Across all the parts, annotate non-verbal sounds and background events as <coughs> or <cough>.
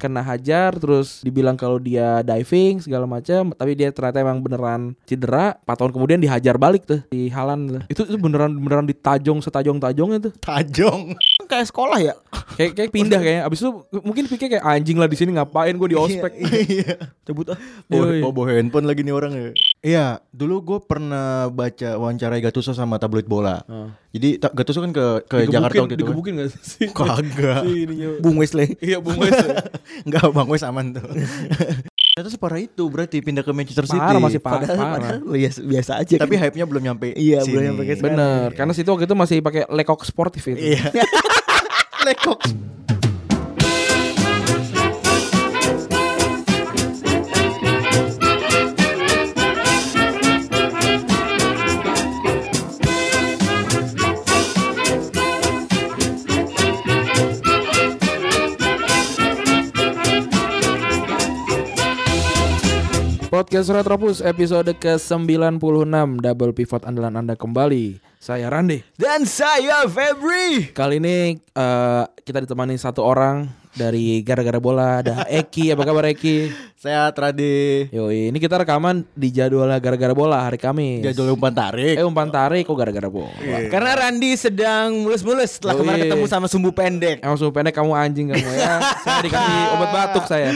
kena hajar terus dibilang kalau dia diving segala macam tapi dia ternyata emang beneran cedera 4 tahun kemudian dihajar balik tuh di Halan tuh. itu itu beneran beneran ditajong setajong tajongnya tuh <laughs> Tajong. Kayak sekolah ya? kayak kayak pindah kayaknya abis itu mungkin pikir kayak anjing lah di sini ngapain gue di ospek Iya. cabut ah Bawa, Yoi. bawa- bawa handphone lagi nih orang ya. Iya, dulu gue pernah baca wawancara Gattuso sama tabloid bola. Ah. Jadi ta- Gattuso kan ke ke Digebukin- Jakarta waktu itu. <laughs> kan. digebukin gak sih Kagak. Si ininya. Bung Wesley. iya bung Wes ya. Enggak, Bang Wes aman <laughs> tuh. Ternyata separah itu berarti pindah ke Manchester City. parah masih parah, padahal, parah. <laughs> padahal lu biasa, biasa aja Tapi kan. hype-nya belum nyampe. Iya, sini. belum nyampe ke sana. bener karena situ waktu itu masih pakai lekok sportif itu Iya. Lekok. Podcast Retropus episode ke-96 Double Pivot andalan Anda kembali Saya Randi dan saya Febri Kali ini eh, kita ditemani satu orang dari gara-gara bola ada Eki. Apa kabar Eki? Sehat Rade. Yo, ini kita rekaman di jadwal gara-gara bola hari Kamis. Jadwal umpan tarik. eh umpan tarik kok gara-gara bola. karena Randi sedang mulus-mulus setelah Yoi. Oh, iya. kemarin ketemu sama sumbu pendek Emang sumbu pendek kamu anjing kamu ya. saya dikasih obat batuk saya.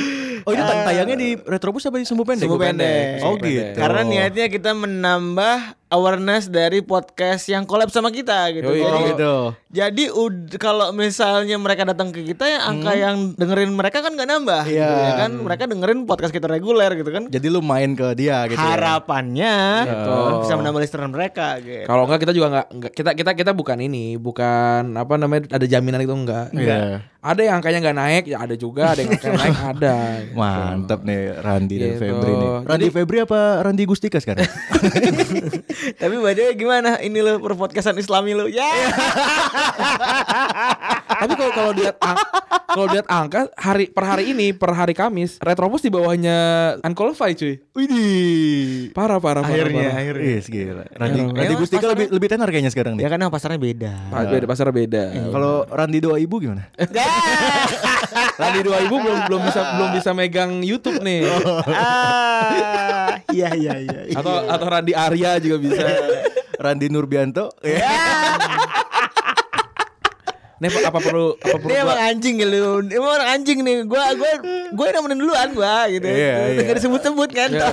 Oh, itu tang- tayangnya di Retrobus apa di Sumbu Pendek? Sumbu Pendek. Oh, Sumbu Pendek. gitu. karena niatnya kita menambah awareness dari podcast yang collab sama kita gitu Yoi. Oh, jadi Kalau- gitu. jadi ud- kalau misalnya mereka datang ke kita ya angka yang dengerin mereka kan nggak nambah gitu Hmm. Iya. ya kan mereka dengerin podcast kita reguler gitu kan Jadi lu main ke dia gitu. ya. harapannya Gitu. bisa menambah listener mereka gitu Kalau enggak kita juga enggak, enggak- kita kita kita bukan ini, bukan apa namanya ada jaminan itu enggak. Iya. Ada yang angkanya enggak naik, ya ada juga, ada yang angkanya <laughs> naik ada. Mantap nih Randi dan Gitu. Febri nih. Randi Febri apa Randi Gustika sekarang? Tapi bacanya gimana? Ini lo perpodcastan islami lo Ya Iya. Tapi kalau kalau lihat ang- kalau lihat angka hari per hari ini per hari Kamis Retropus di bawahnya Unqualified cuy. Widih. Parah parah parah. Iya, Akhirnya parah. akhirnya Yes, gila. Randi, Emang Randi Gustika pasarnya- lebih lebih tenar kayaknya sekarang Ya nih. Iya. karena pasarnya beda Pa- beda pasar beda. Kalau Randi doa ibu gimana? Tadi dua ibu belum belum bisa belum bisa megang YouTube nih. Ah, Iya iya Oh, iya Atau atau Randy Arya juga bisa. <laughs> Randi Nurbianto. Ya. Nih apa apa perlu apa perlu Ini emang gua- anjing ya lu Emang orang anjing nih Gue gua, gua yang nemenin duluan gue gitu Iya, iya. Gak disebut-sebut kan Ya.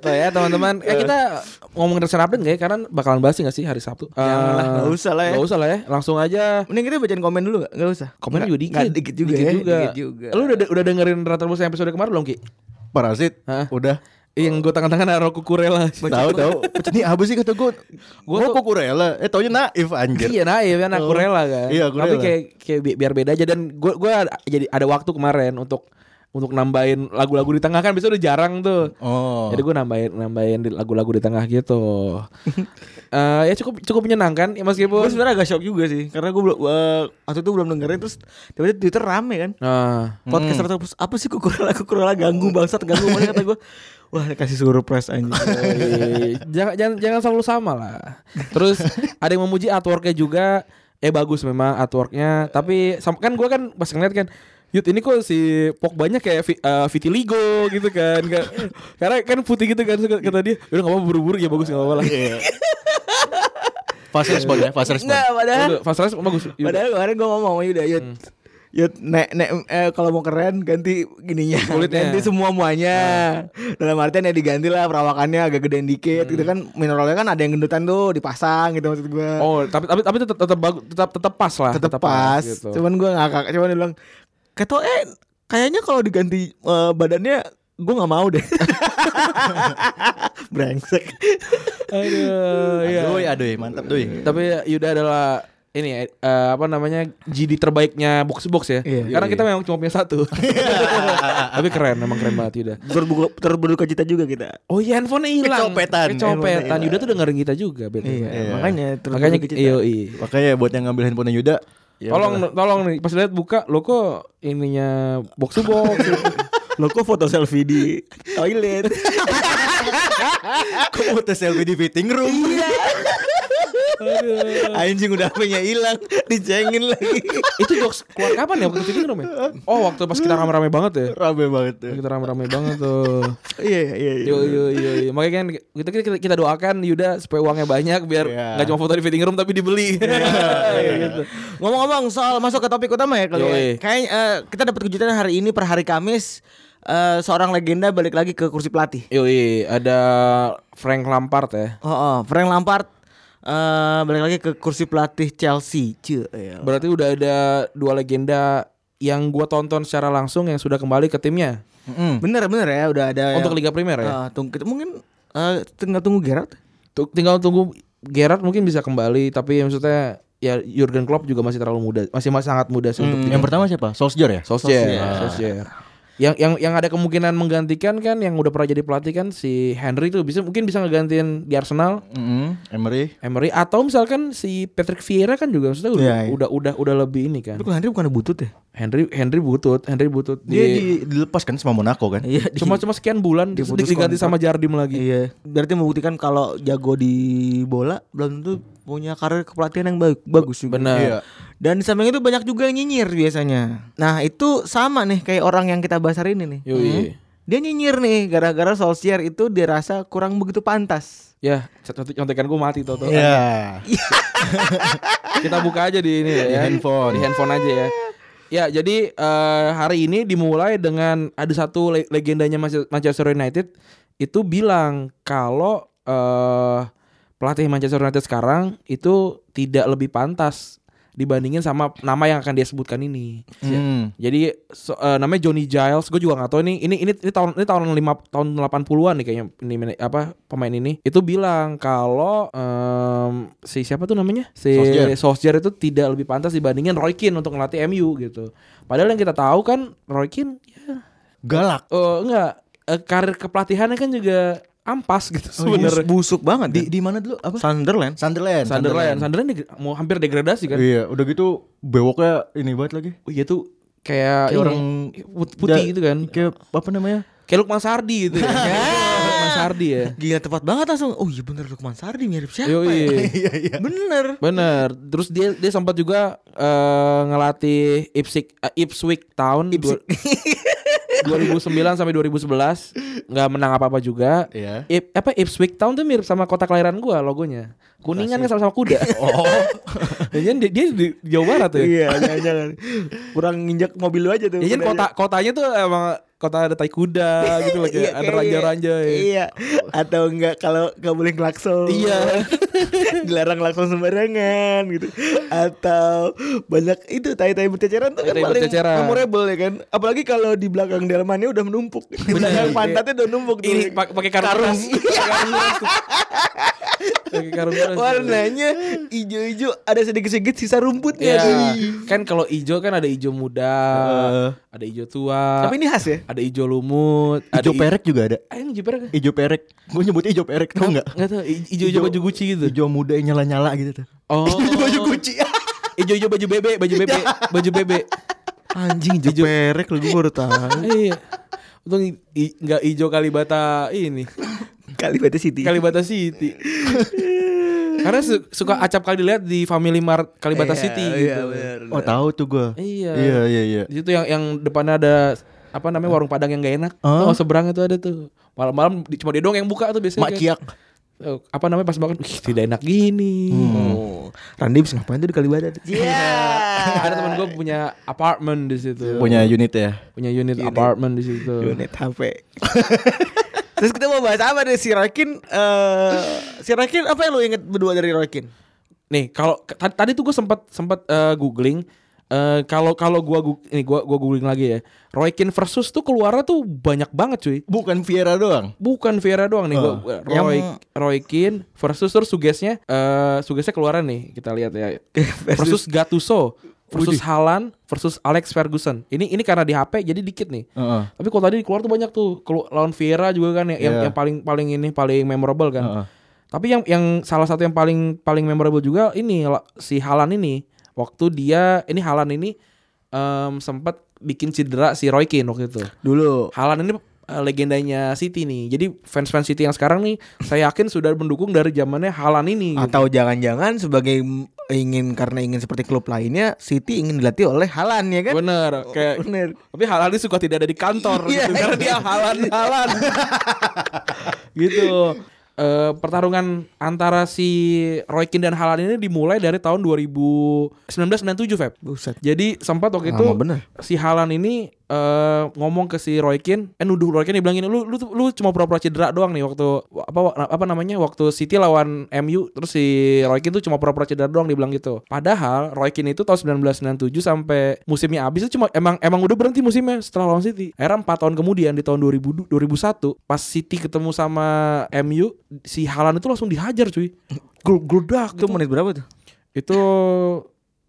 gitu ya teman-teman. Eh kita ngomongin recent update nggak ya? Karena bakalan bahas nggak sih hari Sabtu? Janganlah, Eh, nggak usah lah ya. nggak usah lah ya. Langsung aja Mending kita bacain komen dulu gak? Gak usah Komen juga dikit. Nggak, dikit juga ya Dikit juga. Lu udah udah dengerin Retropus yang episode kemarin belum, Ki? Parasit. Hah? Udah. Yang gue tangan-tangan Aro Kukurela Tahu tahu. Ini apa sih kata gue? Gue tuh- kok kurela. Eh taunya naif anjir. Iya naif kan aku Oh. rela kan Iya, aku Tapi rela. kayak, kayak bi- biar beda aja Dan gue gua ada- jadi ada waktu kemarin untuk untuk nambahin lagu-lagu di tengah kan biasanya udah jarang tuh Oh. Jadi gue nambahin nambahin di- lagu-lagu di tengah gitu Eh, Ya cukup cukup menyenangkan ya Gue meskipun sebenernya agak shock juga sih Karena gue belum eh, Waktu itu belum dengerin Terus tiba-tiba Twitter rame kan Nah podcast hmm. apa sih kukurela kukurela ganggu bangsat ganggu mana kata gue wah kasih surprise <laughs> anjing eh, jangan, jangan jangan selalu sama lah Terus ada yang memuji artworknya juga Eh bagus memang artworknya Tapi sam- kan gue kan pas ngeliat kan Yud ini kok si Pogba-nya kayak vi, eh, vitiligo gitu kan Ka- Karena kan putih gitu kan Terus Kata dia Udah gak apa-apa buru-buru ya bagus gak apa-apa lah Iya. Fast respon ya, fast respon. enggak padahal Udah, Fast respon bagus Yud. Hmm. padahal kemarin gue ngomong sama Yuda Yud Yud nek nek eh, kalau mau keren ganti gininya Kulitnya. Hmm. ganti semua muanya dalam artian ya diganti lah perawakannya agak gedean dikit gitu kan mineralnya kan ada yang gendutan tuh dipasang gitu maksud gue Oh tapi tapi tapi tetap tetap bagus tetap tetap pas lah tetep pas gitu. cuman gue ngakak cuman dia bilang kata eh kayaknya kalau diganti eh, badannya gue nggak mau deh <laughs> brengsek Aduh, iya. Aduh, aduh, mantap doi. Tapi Yuda adalah ini ya, eh, apa namanya GD terbaiknya box to box ya. Iya. Karena kita memang cuma punya satu. <laughs> Tapi keren, memang keren banget Yuda. terbuka terbuka cita juga kita. Oh iya handphonenya hilang. Kecopetan. Kecopetan. Handphonenya Yuda tuh dengerin kita juga betul. Iya. makanya Makanya iyo iya. Makanya buat yang ngambil handphone Yuda, ya tolong tolong nih pas lihat buka lo kok ininya box to <laughs> box. Lo kok foto selfie di toilet? Kok foto selfie di fitting room? <laughs> Anjing udah Iya, punya hilang, dicengin lagi. itu jokes keluar kapan ya waktu itu Rom ya? Oh waktu pas kita rame-rame banget ya. Rame banget tuh. Kita rame-rame banget tuh. Iya iya iya. Yo yo yo yo. Makanya kan kita, kita kita doakan Yuda supaya uangnya banyak biar Iya. nggak cuma foto di fitting room tapi dibeli. <laughs> gitu. Ngomong-ngomong soal masuk ke topik utama ya kali ya. Yoi. Kayaknya eh, kita dapat kejutan hari ini per hari Kamis eh, seorang legenda balik lagi ke kursi pelatih. Yoi, iya, ada Frank Lampard ya. Oh, oh, Frank Lampard eh, balik lagi ke kursi pelatih Chelsea. Cie, ya. Berarti udah ada dua legenda yang gua tonton secara langsung yang sudah kembali ke timnya Bener bener ya udah ada Iya. untuk yang- Liga Primer ya. Ah, tung- kita mungkin eh, tinggal tunggu Gerard. Tuh, Tinggal tunggu Gerard mungkin bisa kembali tapi maksudnya ya Jurgen Klopp juga masih terlalu muda, masih masih sangat muda sih untuk Yang pertama siapa? Solskjaer ya? Solskjaer, Solskjaer. Solskjaer. Nah. Yang yang yang ada kemungkinan menggantikan kan yang udah pernah jadi pelatih kan si Henry tuh bisa mungkin bisa ngegantiin di Arsenal Mm-mm, Emery. Emery atau misalkan si Patrick Vieira kan juga maksudnya udah Iya, iya. udah, udah udah lebih ini kan. Tapi kalau Henry bukan butut ya. Henry Henry butut, Henry butut Dia di, di, dilepas kan sama Monaco kan? Iya. di- cuma cuma sekian bulan terus Diputus diganti sama Jardim lagi. Iya. Berarti membuktikan kalau jago di bola belum tentu punya karir kepelatihan yang ba- bagus juga. Benar. Iya. Dan di samping itu banyak juga yang nyinyir biasanya. Nah itu sama nih kayak orang yang kita bahas hari ini nih. Iya. Yoi. Hmm. Dia nyinyir nih gara-gara Solskjaer itu dirasa kurang begitu pantas. Ya, contek- contekan gue mati toto. Iya. Kita buka aja di ini ya. Di handphone. Di handphone aja ya. Ya, jadi eh, hari ini dimulai dengan ada satu le- legendanya Manche- Manchester United itu bilang kalau eh pelatih Manchester United sekarang itu tidak lebih pantas dibandingin sama nama yang akan dia sebutkan ini. Hmm. Jadi so- eh, namanya Johnny Giles, gue juga nggak tahu ini ini ini ini tahun ini tahun 5 tahun 80-an nih kayaknya ini mana- apa pemain ini itu bilang kalau em, si siapa tuh namanya? Si Solskjaer. Solskjaer itu tidak lebih pantas dibandingin Roy Keane untuk ngelatih MU gitu. Padahal yang kita tahu kan Roy Keane ya Galak. eh, enggak eh, karir kepelatihannya kan juga ampas Oh, gitu iya. Oh, iya. Bener. sebenarnya. Busuk banget. Di Di, di mana dulu apa? Sunderland. Sunderland. Sunderland, Sunderland deg- mau hampir degradasi kan. Iya, udah gitu bewoknya ini banget lagi. Oh, Iya tuh kayak, Kayak ini, orang put- putih da- gitu kan. Kayak apa namanya? Kayak Lukman Sardi gitu <laughs> ya. Kayak Lukman Sardi ya. Gila tepat banget langsung. Oh iya bener Lukman Sardi mirip siapa Yo, ya? Iya iya. Bener. Bener. Terus dia dia sempat juga eh, ngelatih Ipswich eh, Ipswich Town <laughs> dua- 2009 sampai 2011 nggak menang apa-apa juga. Iya. Ip- apa Ipswich Town tuh mirip sama kota kelahiran gua logonya. Kuningan kan sama-sama kuda. <laughs> Oh, Jadi dia, dia di Jawa Barat tuh ya. Iya jangan-jangan. Kurang nginjak mobil lu aja tuh. Jadi Bener. kota kotanya tuh emang kota ada tai kuda gitu loh kayak ada kayaknya. ranja-ranja ya. Iya. Atau enggak kalau nggak boleh ngelakson. Iya. <laughs> Dilarang lakson sembarangan gitu. Atau banyak itu tai-tai berceceran tuh kan Tai-tai paling berceceran. memorable ya kan. Apalagi kalau di belakang delmannya udah menumpuk. <laughs> Di belakang pantatnya udah numpuk tuh. Ini pak- pakai karung. Karung. keras. Pakai karung keras tuh. Pakai karung keras. Warnanya ijo-ijo ada sedikit-sedikit sisa Iya. rumputnya tuh. Kan kalau ijo kan ada ijo muda, Eh. ada ijo tua, Tapi ini khas ya. ada ijo lumut, ada ijo perek juga ada. Ah, ini ijo perek. Ijo perek. Gue nyebutnya ijo perek tau enggak? Enggak tahu i- ijo-ijo baju Gucci gitu. Ijo muda yang nyala-nyala gitu tuh. Oh. Baju Gucci. <laughs> Ijo-ijo baju bebek, baju bebek, Iya. baju bebek. Anjing ijo perek lu gue baru tahu. Iya. Untung i- i- enggak ijo Kalibata ini. <laughs> Kalibata City. Kalibata <laughs> City. Karena su- suka acap kali dilihat di Family Mart Kalibata Iya, City Iya, gitu. bener. <laughs> Oh tahu tuh gue. Iya. Iya iya iya. Di situ yang yang depannya ada apa namanya warung Padang yang gak enak. Hah? Oh, seberang itu ada tuh. Malam-malam di- cuma dia doang yang buka tuh biasanya. Mak kan. Ciak. Eh, apa namanya pas makan, "Ih, tidak enak gini. Oh, Randy bisa ngapain tuh di Kalibata? Iya. ada teman gue punya apartemen di situ. Punya unit ya. punya unit, apartemen di situ. Unit HP. <laughs> Terus kita mau bahas apa deh si Rakin? eh si Rakin apa yang lu inget berdua dari Rakin? Nih, kalau k- tadi, tadi tuh gue sempat sempat eh, googling eh, kalau kalau gua gu- ini gua gua googling lagi ya. Roy Keane versus tuh keluarnya tuh banyak banget cuy. Bukan Viera doang. Bukan Vieira doang nih gua, gua- Roy yang- Roy Keane versus terus sugesnya eh sugesnya keluaran nih kita lihat <laughs> ya versus Gattuso versus Halan versus Alex Ferguson ini ini karena di HP jadi dikit nih Heeh. tapi kalau tadi keluar tuh banyak tuh Kelu- lawan Vieira juga kan yang yang- Iya. yang paling paling ini paling memorable Iya. kan Heeh. tapi yang yang salah satu yang paling paling memorable juga ini la- si Halan ini waktu dia ini Halan ini em, sempat bikin cedera si Roy Keane waktu itu Dulu. Halan ini eh, legendanya City nih. Jadi fans-fans City yang sekarang nih saya yakin sudah mendukung dari zamannya Halan ini. gitu. Atau jangan-jangan sebagai m- ingin karena ingin seperti klub lainnya, City ingin dilatih oleh Halan ya kan? Bener, kayak Bener. tapi Halan ini suka tidak ada di kantor <laughs> Iya, gitu, karena dia Halan-Halan. gitu. Eh, pertarungan antara si Roy Keane dan Halan ini dimulai dari tahun 2019-97, Feb. Buset. Jadi sempat waktu itu Lama bener. si Halan ini eh, ngomong ke si Roy Keane, eh nuduh Roy Keane dibilang gini, lu lu lu cuma pura-pura cedera doang nih waktu apa apa namanya waktu City lawan MU terus si Roy Keane tuh cuma pura-pura cedera doang dibilang gitu. Padahal Roy Keane itu tahun 1997 sampai musimnya habis itu cuma emang emang udah berhenti musimnya setelah lawan City. Era 4 tahun kemudian di tahun 2000, 2001 pas City ketemu sama MU si Halan itu langsung dihajar cuy. Gludak Itu menit berapa tuh? itu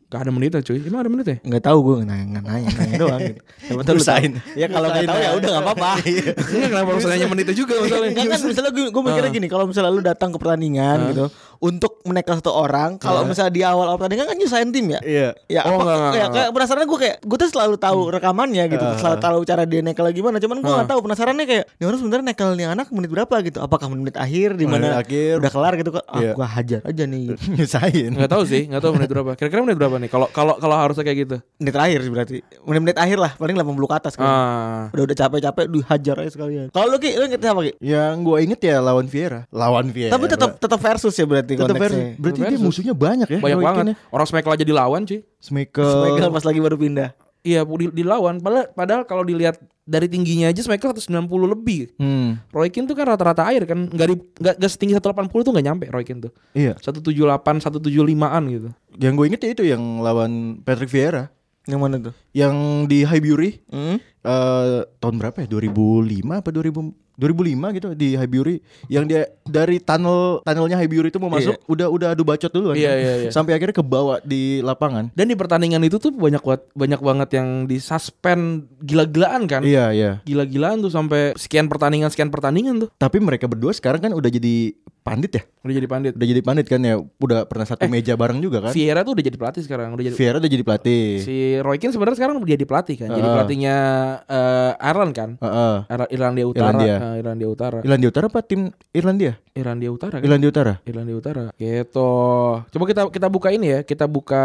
gak ada menitnya cuy. Emang ada menitnya? Enggak tahu gue nanya, nggak nanya, nanya doang <laughs> gitu. Siapa tahu lu tahu. Berusahain. Ya kalau nggak tahu ya Iya. udah nggak <laughs> apa-apa. Enggak kenapa harus nanya menitnya juga masalahnya. Enggak kan misalnya gue, gue mikirnya Ah. gini kalau misalnya lu datang ke pertandingan gitu untuk menekel satu orang kalau misalnya di awal awal pertandingan kan nyusahin tim ya Iya. ya Ah. Oh, enggak, enggak, apa kayak, enggak. Hmm. Ah. kayak penasaran gue kayak gue tuh selalu tahu rekamannya gitu selalu tahu cara dia nekel gimana cuman gue nggak tahu penasarannya kayak ini orang sebenarnya nekel nih anak menit berapa gitu apakah menit akhir di mana Menit akhir. udah kelar gitu kan ah, Iya. gue hajar aja nih gitu. <laughs> Nyusahin. Enggak tahu sih, enggak tahu menit berapa. Kira-kira menit berapa nih kalau kalau kalau harusnya kayak gitu. menit terakhir sih berarti menit-menit akhir lah paling 80 ke atas kan Ah. udah udah capek-capek dihajar aja sekalian kalau lu ki lu inget apa ki Yang gue inget ya lawan Vieira. Lawan Vieira. tapi tetap tetap versus ya berarti tetap konteksnya. versi. Berarti dia Iya, Versus. musuhnya banyak ya. Banyak Roy banget. Keane ya. Orang Smackle aja dilawan cuy. Schmeichel. Michael pas lagi baru pindah. Iya, di- dilawan. Padahal padahal kalau dilihat dari tingginya aja Smackle 190 lebih. Hmm. Roy Keane tuh kan rata-rata air kan Nggak, di- nggak, nggak setinggi 180 tuh nggak nyampe Roy Keane tuh Iya. 178, 175an gitu Yang gue inget ya itu yang lawan Patrick Vieira. Yang mana tuh? Yang di Highbury. Hmm? eh tahun berapa ya? 2005 apa 2000 2005 gitu di Highbury yang dia dari tunnel tunnelnya Highbury itu mau masuk udah udah adu bacot dulu kan. Iya, iya, iya. sampai akhirnya kebawa di lapangan. Dan di pertandingan itu tuh banyak banget banyak banget yang disuspend gila-gilaan kan Iya iya. Gila-gilaan tuh sampai sekian pertandingan sekian pertandingan tuh Tapi mereka berdua sekarang kan udah jadi pandit ya. udah jadi pandit. Udah jadi pandit kan ya. Udah pernah Eh, satu meja bareng juga kan. Vieira tuh udah jadi pelatih sekarang, udah jadi Vieira udah jadi pelatih. si Roy Keane sebenarnya sekarang udah jadi pelatih kan, jadi Heeh. pelatihnya eh, Ireland kan, Heeh. Ar- Irlandia Utara, Irlandia. Eh, Irlandia Utara, Irlandia Utara apa tim Irlandia? Irlandia Utara, kan? Irlandia Utara. Irlandia Utara. Gitu. Coba kita kita buka ini ya, kita buka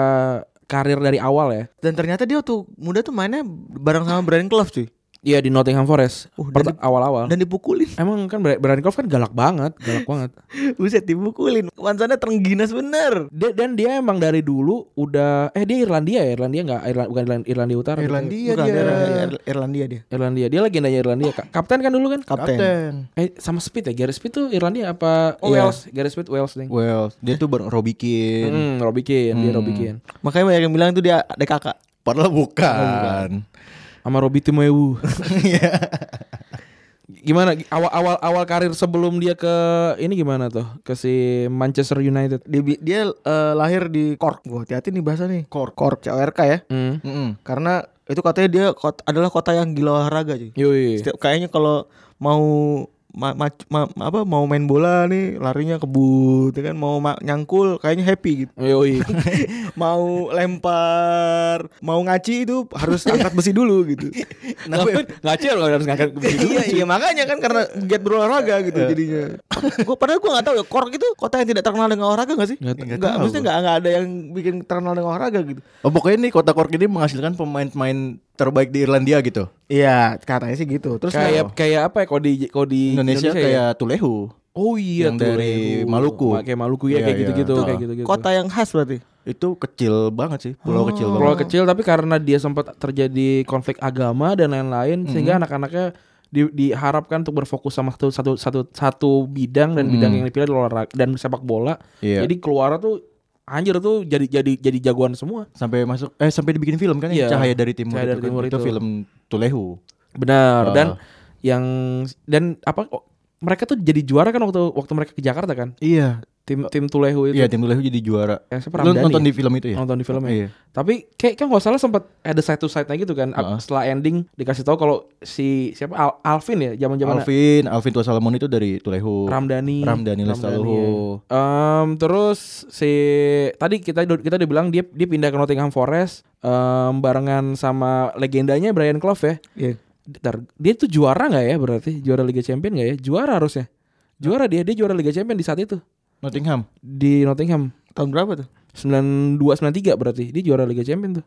karir dari awal ya. Dan ternyata dia tuh muda tuh mainnya bareng sama Brian Clough cuy. Iya di Nottingham Forest, Oh, dan Pert- awal-awal. Dan dipukulin. Emang kan Bra- Brian Clough kan galak banget, galak banget. <laughs> Buset dipukulin. Wansanya terengginas bener. Dia- dan dia emang dari dulu udah eh dia Irlandia ya, Irlandia enggak Irlandia bukan Irlan- Irlandia Utara. bukan? Irlandia Bukan, dia. Irlandia, Ir- Irlandia dia. Irlandia. Dia legendanya Irlandia. Ka- Kapten kan dulu kan? Kapten. Kapten. Eh sama Speed ya, Gareth Speed tuh Irlandia apa oh, Iya. Wales, Gareth Speed Wales nih. Well, dia tuh bareng Robbie Keane. Hmm, Robbie Keane, dia Robbie Keane. Makanya banyak yang bilang tuh dia ada kakak. Padahal bukan. Sama Robbie <laughs> Timewu. Iya. gimana awal awal awal karir sebelum dia ke ini gimana tuh? Ke si Manchester United. Dia, bi- dia eh, lahir di Cork. Gua hati-hati nih bahasa nih. Cork. Cork CORK ya. Hmm. Mm-mm. Karena itu katanya dia kot- adalah kota yang gila olahraga cuy. Yoi. Setiap, kayaknya kalau mau ma- ma- ma- apa mau main bola nih larinya kebut ya kan mau ma- nyangkul kayaknya happy gitu. <laughs> Yoi. <laughs> mau lempar mau ngaci itu harus angkat besi dulu gitu ya? Ngapain? Ngaci harus harus ngangkat gitu. besi dulu. <laughs> iya iya makanya kan karena giat berolahraga gitu jadinya <laughs> gua padahal gua nggak tahu ya Cork itu kota yang tidak terkenal dengan olahraga gak sih Nggak- nggak maksudnya nggak nggak ada yang bikin terkenal dengan olahraga gitu Oh, pokoknya nih kota Cork ini menghasilkan pemain-pemain terbaik di Irlandia gitu. iya katanya sih gitu terus Kayak kayak apa ya kalau di kalau di Indonesia, ya? kayak Tulehu. Oh iya yang tuh, dari Lehu. Maluku. Kayak Maluku ya Iya, kayak iya. gitu-gitu Nah. kayak gitu-gitu. Gitu. kota yang khas berarti Itu kecil banget sih, pulau kecil banget. Oh, Pulau kecil tapi karena dia sempat terjadi konflik agama dan lain-lain Mm-hmm. sehingga anak-anaknya di- diharapkan untuk berfokus sama satu satu satu satu bidang dan Mm-hmm. bidang yang dipilih adalah olahraga dan sepak bola. Iya. Jadi keluar tuh anjir tuh jadi jadi jadi jagoan semua. Sampai masuk eh sampai dibikin film kan yang Iya. Cahaya dari Timur, Cahaya itu, dari kan. Timur itu. itu. film Tulehu. Benar Ah. dan yang dan apa oh, mereka tuh jadi juara kan waktu waktu mereka ke Jakarta kan. Iya, Tim tim Tulehu itu. iya tim Tulehu jadi juara. Eh, siapa, Lu Ramdhani nonton ya? di film itu ya? Nonton di film ya? Iya. Tapi kayak kan nggak salah sempat ada satu side lagi gitu kan. Heeh. Setelah ending dikasih tahu kalau si siapa Al- Alvin ya zaman-zaman Alvin, Alvin Tua Salomon itu dari Tulehu. Ramdhani. Ramdhani Lestaluhu. ya. Em, terus si tadi kita kita udah bilang dia dia pindah ke Nottingham Forest em, barengan sama legendanya Brian Clough ya. Iya. Ntar, dia tuh juara nggak ya berarti juara Liga Champion nggak ya juara harusnya juara dia dia juara Liga Champion di saat itu Nottingham. di Nottingham Tahun berapa tuh? 92 93 berarti dia juara Liga Champion tuh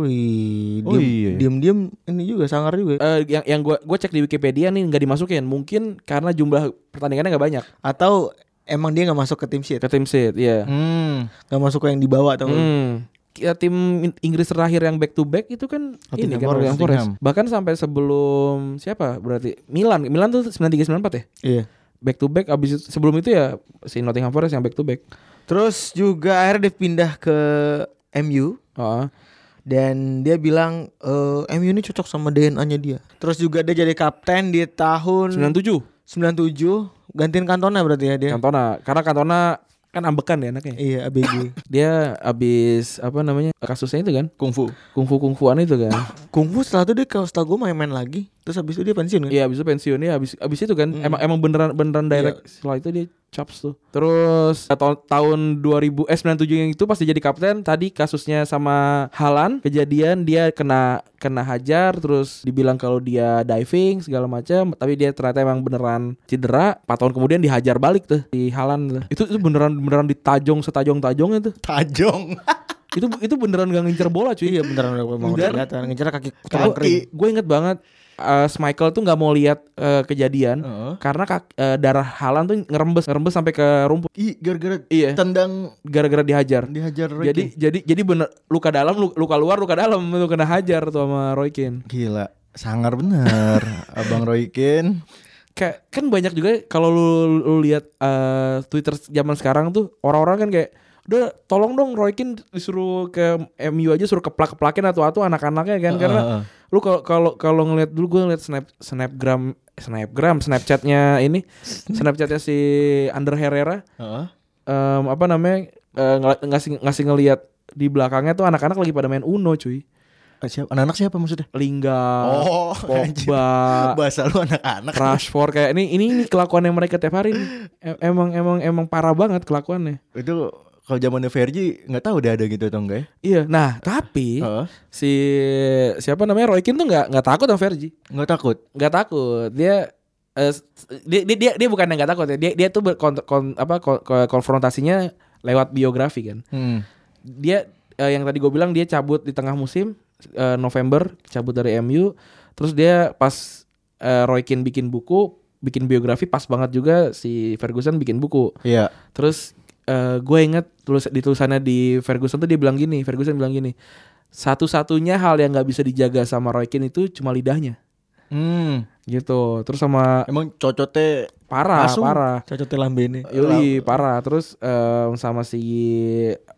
Wih, Oh, diem, iya. diem diem ini juga sangar juga. Eh, yang yang gua gua cek di Wikipedia nih nggak dimasukin mungkin karena jumlah pertandingannya nggak banyak Atau emang dia nggak masuk ke tim shit, ke tim seed ya Hmm. nggak masuk ke yang dibawa atau Hmm. Ya, tim In- Inggris terakhir yang back to back itu kan ini Nottingham kan Forest, Nottingham Forest. Nottingham. Bahkan sampai sebelum siapa? Berarti Milan. Milan tuh 93 94 ya. Iya. Back to back abis itu, sebelum itu ya si Nottingham Forest yang back to back. Terus juga akhirnya dia pindah ke MU Heeh. dan dia bilang eh, MU ini cocok sama DNA-nya dia. Terus juga dia jadi kapten di tahun 97 97 gantiin Cantona berarti ya dia. Iya. Cantona. Karena Cantona kan ambekan ya anaknya. Iya, <coughs> ABG. Dia abis apa namanya? kasusnya itu kan, Kungfu. kungfu-kungfuan itu kan. Kungfu setelah itu dia kalau setelah gue main-main lagi, terus habis itu dia pensiun kan? Iya. Iya, abis itu pensiunnya abis abis itu kan emang emang beneran beneran direct setelah itu dia chops tuh. Terus eh, tahun tahun 2000 eh 97 yang itu pasti jadi kapten. Tadi kasusnya sama Halan kejadian dia kena kena hajar terus dibilang kalau dia diving segala macam tapi dia ternyata emang beneran cedera 4 tahun kemudian dihajar balik tuh di Halan tuh. itu itu beneran beneran ditajong setajong-tajongnya tuh Tajong. itu itu beneran gak ngincer bola cuy Iya beneran udah mau Dan- kelihatan ngejar kaki Kaki. tulang kering. gue inget banget eh, Michael tuh nggak mau lihat eh, kejadian Heeh. karena kak- eh, darah Halan tuh ngerembes ngerembes sampai ke rumput Ih, gara-gara Iya. tendang gara-gara dihajar. dihajar Roy jadi Keane. jadi jadi bener luka dalam lu- luka luar luka dalam itu kena hajar tuh sama Roy Keane. gila, <laughs> sangar bener Abang Roy Keane. Kayak kan banyak juga kalau lu, lu lihat eh, Twitter zaman sekarang tuh orang-orang kan kayak udah tolong dong Roy Keane disuruh ke MU aja suruh keplak-keplakin atau atau anak-anaknya kan karena Heeh. lu kalau kalau kalau ngelihat dulu gue ngeliat snap snapgram snapgram snapchatnya <laughs> ini snapchatnya si Under Herrera Heeh. em, apa namanya eh, ngel- ngasih ngasih ngelihat di belakangnya tuh anak-anak lagi pada main Uno cuy Eh, Siapa? Anak-anak siapa maksudnya? Lingga Oh, <laughs> anjir. Pogba Bahasa lu anak-anak. Rashford kayak ini ini ini kelakuan yang mereka tiap hari nih. Em- emang emang emang parah banget kelakuannya Itu kalau zamannya Fergie nggak tahu udah ada gitu atau enggak ya? iya nah tapi Heeh. si siapa namanya Roy Keane tuh nggak nggak takut sama Fergie Nggak takut. nggak takut dia eh, s- dia, dia dia dia bukan yang nggak takut ya dia dia tuh berkon- kon- apa kon- kon- konfrontasinya lewat biografi kan Hmm. dia eh, yang tadi gue bilang dia cabut di tengah musim eh, November cabut dari MU terus dia pas eh, Roy Keane bikin buku bikin biografi pas banget juga si Ferguson bikin buku Iya. terus eh, gue inget tulis di tulisannya di Ferguson tuh dia bilang gini Ferguson bilang gini satu-satunya hal yang nggak bisa dijaga sama Roy Keane itu cuma lidahnya Hmm. gitu terus sama Emang cocotnya parah Langsung. parah Cocok lambene. Yoi parah terus em, sama si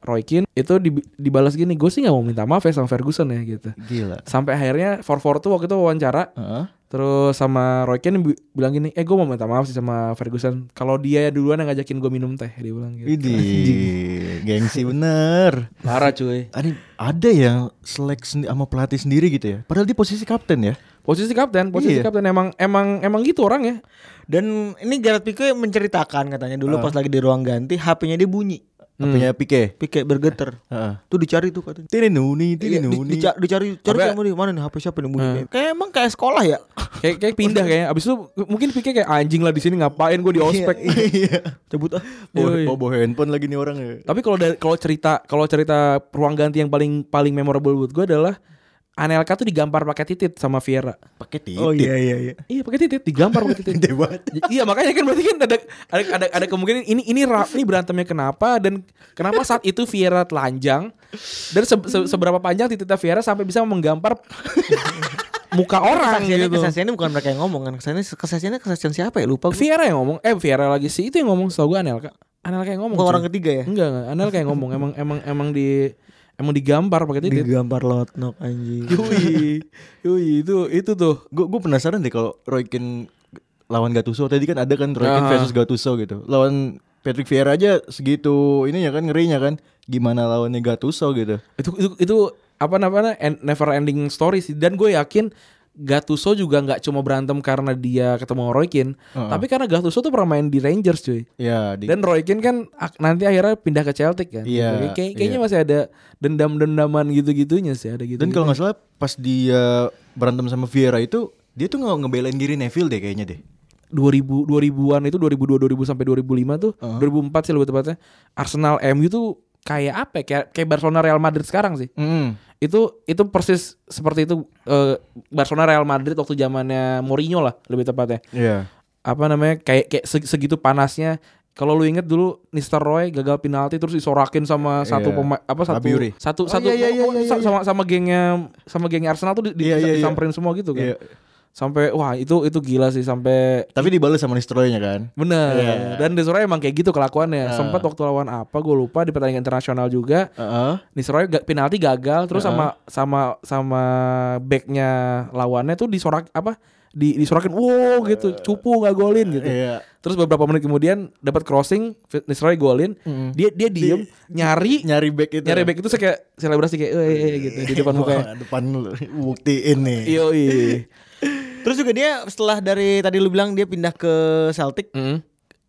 Roy Keane itu di- dibalas gini gue sih nggak mau minta maaf ya sama Ferguson ya gitu gila. sampai akhirnya 4-4 tuh waktu itu wawancara Heeh. terus sama Roy Keane bi- bilang gini eh gue mau minta maaf sih sama Ferguson kalau dia duluan yang ngajakin gue minum teh dia bilang gitu Ini gengsi bener. parah cuy Ini ada yang selek sendi- sama pelatih sendiri gitu ya. Padahal dia posisi kapten ya. posisi kapten posisi Iya. kapten emang emang emang gitu orang ya Dan ini Gareth Pique menceritakan katanya dulu pas lagi di ruang ganti HP-nya dia bunyi, Punya Pique. Pique bergeter. Heeh. Tuh dicari tuh katanya. Tirinuni, Iya, di, tirinuni. dica- dicari cari Apa- sama dia mana nih HP siapa yang bunyi kayak emang kayak sekolah ya <laughs> kayak kayak pindah kayaknya abis itu mungkin pikir kayak anjing lah di sini ngapain gue di ospek Iya. cabut ah Bawa, Yoi. bawa- bawa handphone lagi nih orang ya. Tapi kalau dari- kalau cerita kalau cerita ruang ganti yang paling paling memorable buat gue adalah Anelka tuh digampar pakai titit sama Viera. Pakai titik. oh iya iya iya Iya pakai titit, digampar pakai titit. Gede banget. I- <laughs> iya makanya kan berarti kan ada ada ada, ada kemungkinan ini ini ra- ini berantemnya kenapa dan kenapa saat itu Viera telanjang dan se- se- seberapa panjang tititnya Viera sampai bisa menggampar muka orang kesaksiannya gitu. kesaksiannya bukan mereka yang ngomong kan kesaksiannya kesaksiannya kesaksian siapa ya lupa gue Viera yang ngomong, eh Viera lagi sih itu yang ngomong setahu gue Anelka. Anelka yang ngomong. bukan orang cuy. ketiga ya enggak, enggak, Anelka yang ngomong emang emang emang di emang digampar pakai titit. digambar lotnok anjing Yui, yui itu itu tuh. Gue gue penasaran deh kalau Roy Keane lawan Gattuso tadi kan ada kan Roy Keane Ah. versus Gattuso gitu. Lawan Patrick Vieira aja segitu ini ya kan ngerinya kan. Gimana lawannya Gattuso gitu. Itu itu itu apa namanya en- never ending story sih. Dan gue yakin Gattuso juga nggak cuma berantem karena dia ketemu Roy Keane, tapi karena Gattuso tuh pernah main di Rangers cuy. Ya, di, Dan Roy Keane kan ak- nanti akhirnya pindah ke Celtic kan. Iya, Kayak- kayaknya iya. masih ada dendam-dendaman gitu-gitunya sih ada gitu. Dan kalau nggak salah pas dia berantem sama Vieira itu Dia tuh nge ngebelain diri Neville deh kayaknya deh. 2000 2000-an itu 2002 2000 sampai 2005 tuh, 2004 sih lebih tepatnya. Arsenal MU tuh kayak apa? ya? Kayak kayak Barcelona Real Madrid sekarang sih. Mm. Itu itu persis seperti itu eh, Barcelona Real Madrid waktu zamannya Mourinho lah lebih tepatnya. Iya. Apa namanya? Kayak kayak se- segitu panasnya kalau lu inget dulu Roy gagal penalti terus disorakin sama satu Iya. pemain apa satu Abiuri. satu Oh, satu iya, iya, iya, pokoknya iya, sa- iya. sama sama gengnya sama gengnya Arsenal tuh di, di- Iya, iya, iya. disamperin semua gitu kan. Iya. Sampai wah itu itu gila sih sampai Tapi dibalas sama Nistelrooy-nya kan. Bener. Iya. Nah. Dan Nisroy emang kayak gitu kelakuannya. Heeh. Sempat waktu lawan apa gue lupa di pertandingan internasional juga. Heeh. Nisroy ga- penalti gagal terus sama sama sama backnya lawannya tuh disorak apa? Di, disorakin wow gitu cupu nggak golin gitu Iya. terus beberapa menit kemudian dapat crossing Nisroy golin dia dia diem nyari Nyari back itu. Iya. nyari back itu saya kayak selebrasi kayak "Eh, eh, eh," gitu di depan <laughs> mukanya Iya. Wah, depan lu. buktiin nih. yoi Terus juga dia setelah dari tadi lu bilang dia pindah ke Celtic, Mm.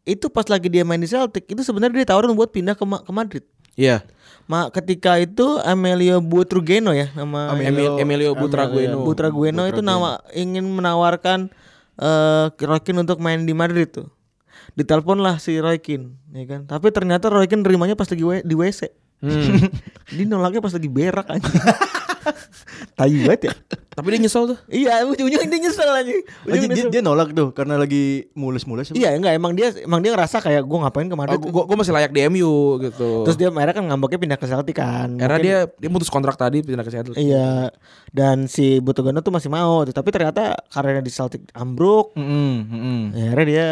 itu pas lagi dia main di Celtic itu sebenarnya ditawarin buat pindah ke, Ma- ke Madrid. iya Ma, ketika itu Emilio Butrugeno ya nama Emilio, Emilio Butragueno iya. Butragueno itu nama ingin menawarkan eh Roy Keane untuk main di Madrid tuh. Ditelepon lah si Roy Keane, ya kan. Tapi ternyata Roy Keane nerimanya pas lagi we- di WC. Hmm. <laughs> Dia nolaknya pas lagi berak aja. <laughs> tai banget ya. tapi dia nyesel tuh Iya, ujung-ujungnya dia nyesel aja. Oh, dia, dia- dia nolak tuh karena lagi mulus-mulus. apa? Iya enggak emang dia emang dia ngerasa kayak gue ngapain ke Madrid. Aku Oh, gua, gua masih layak di MU gitu. Terus dia akhirnya kan ngambeknya pindah ke Celtic kan. Karena Mungkin- dia dia putus kontrak tadi pindah ke Seattle. iya dan si Butugono tuh masih mau tuh. tapi ternyata karirnya di Celtic ambruk. Mm-mm, mm-mm. Akhirnya dia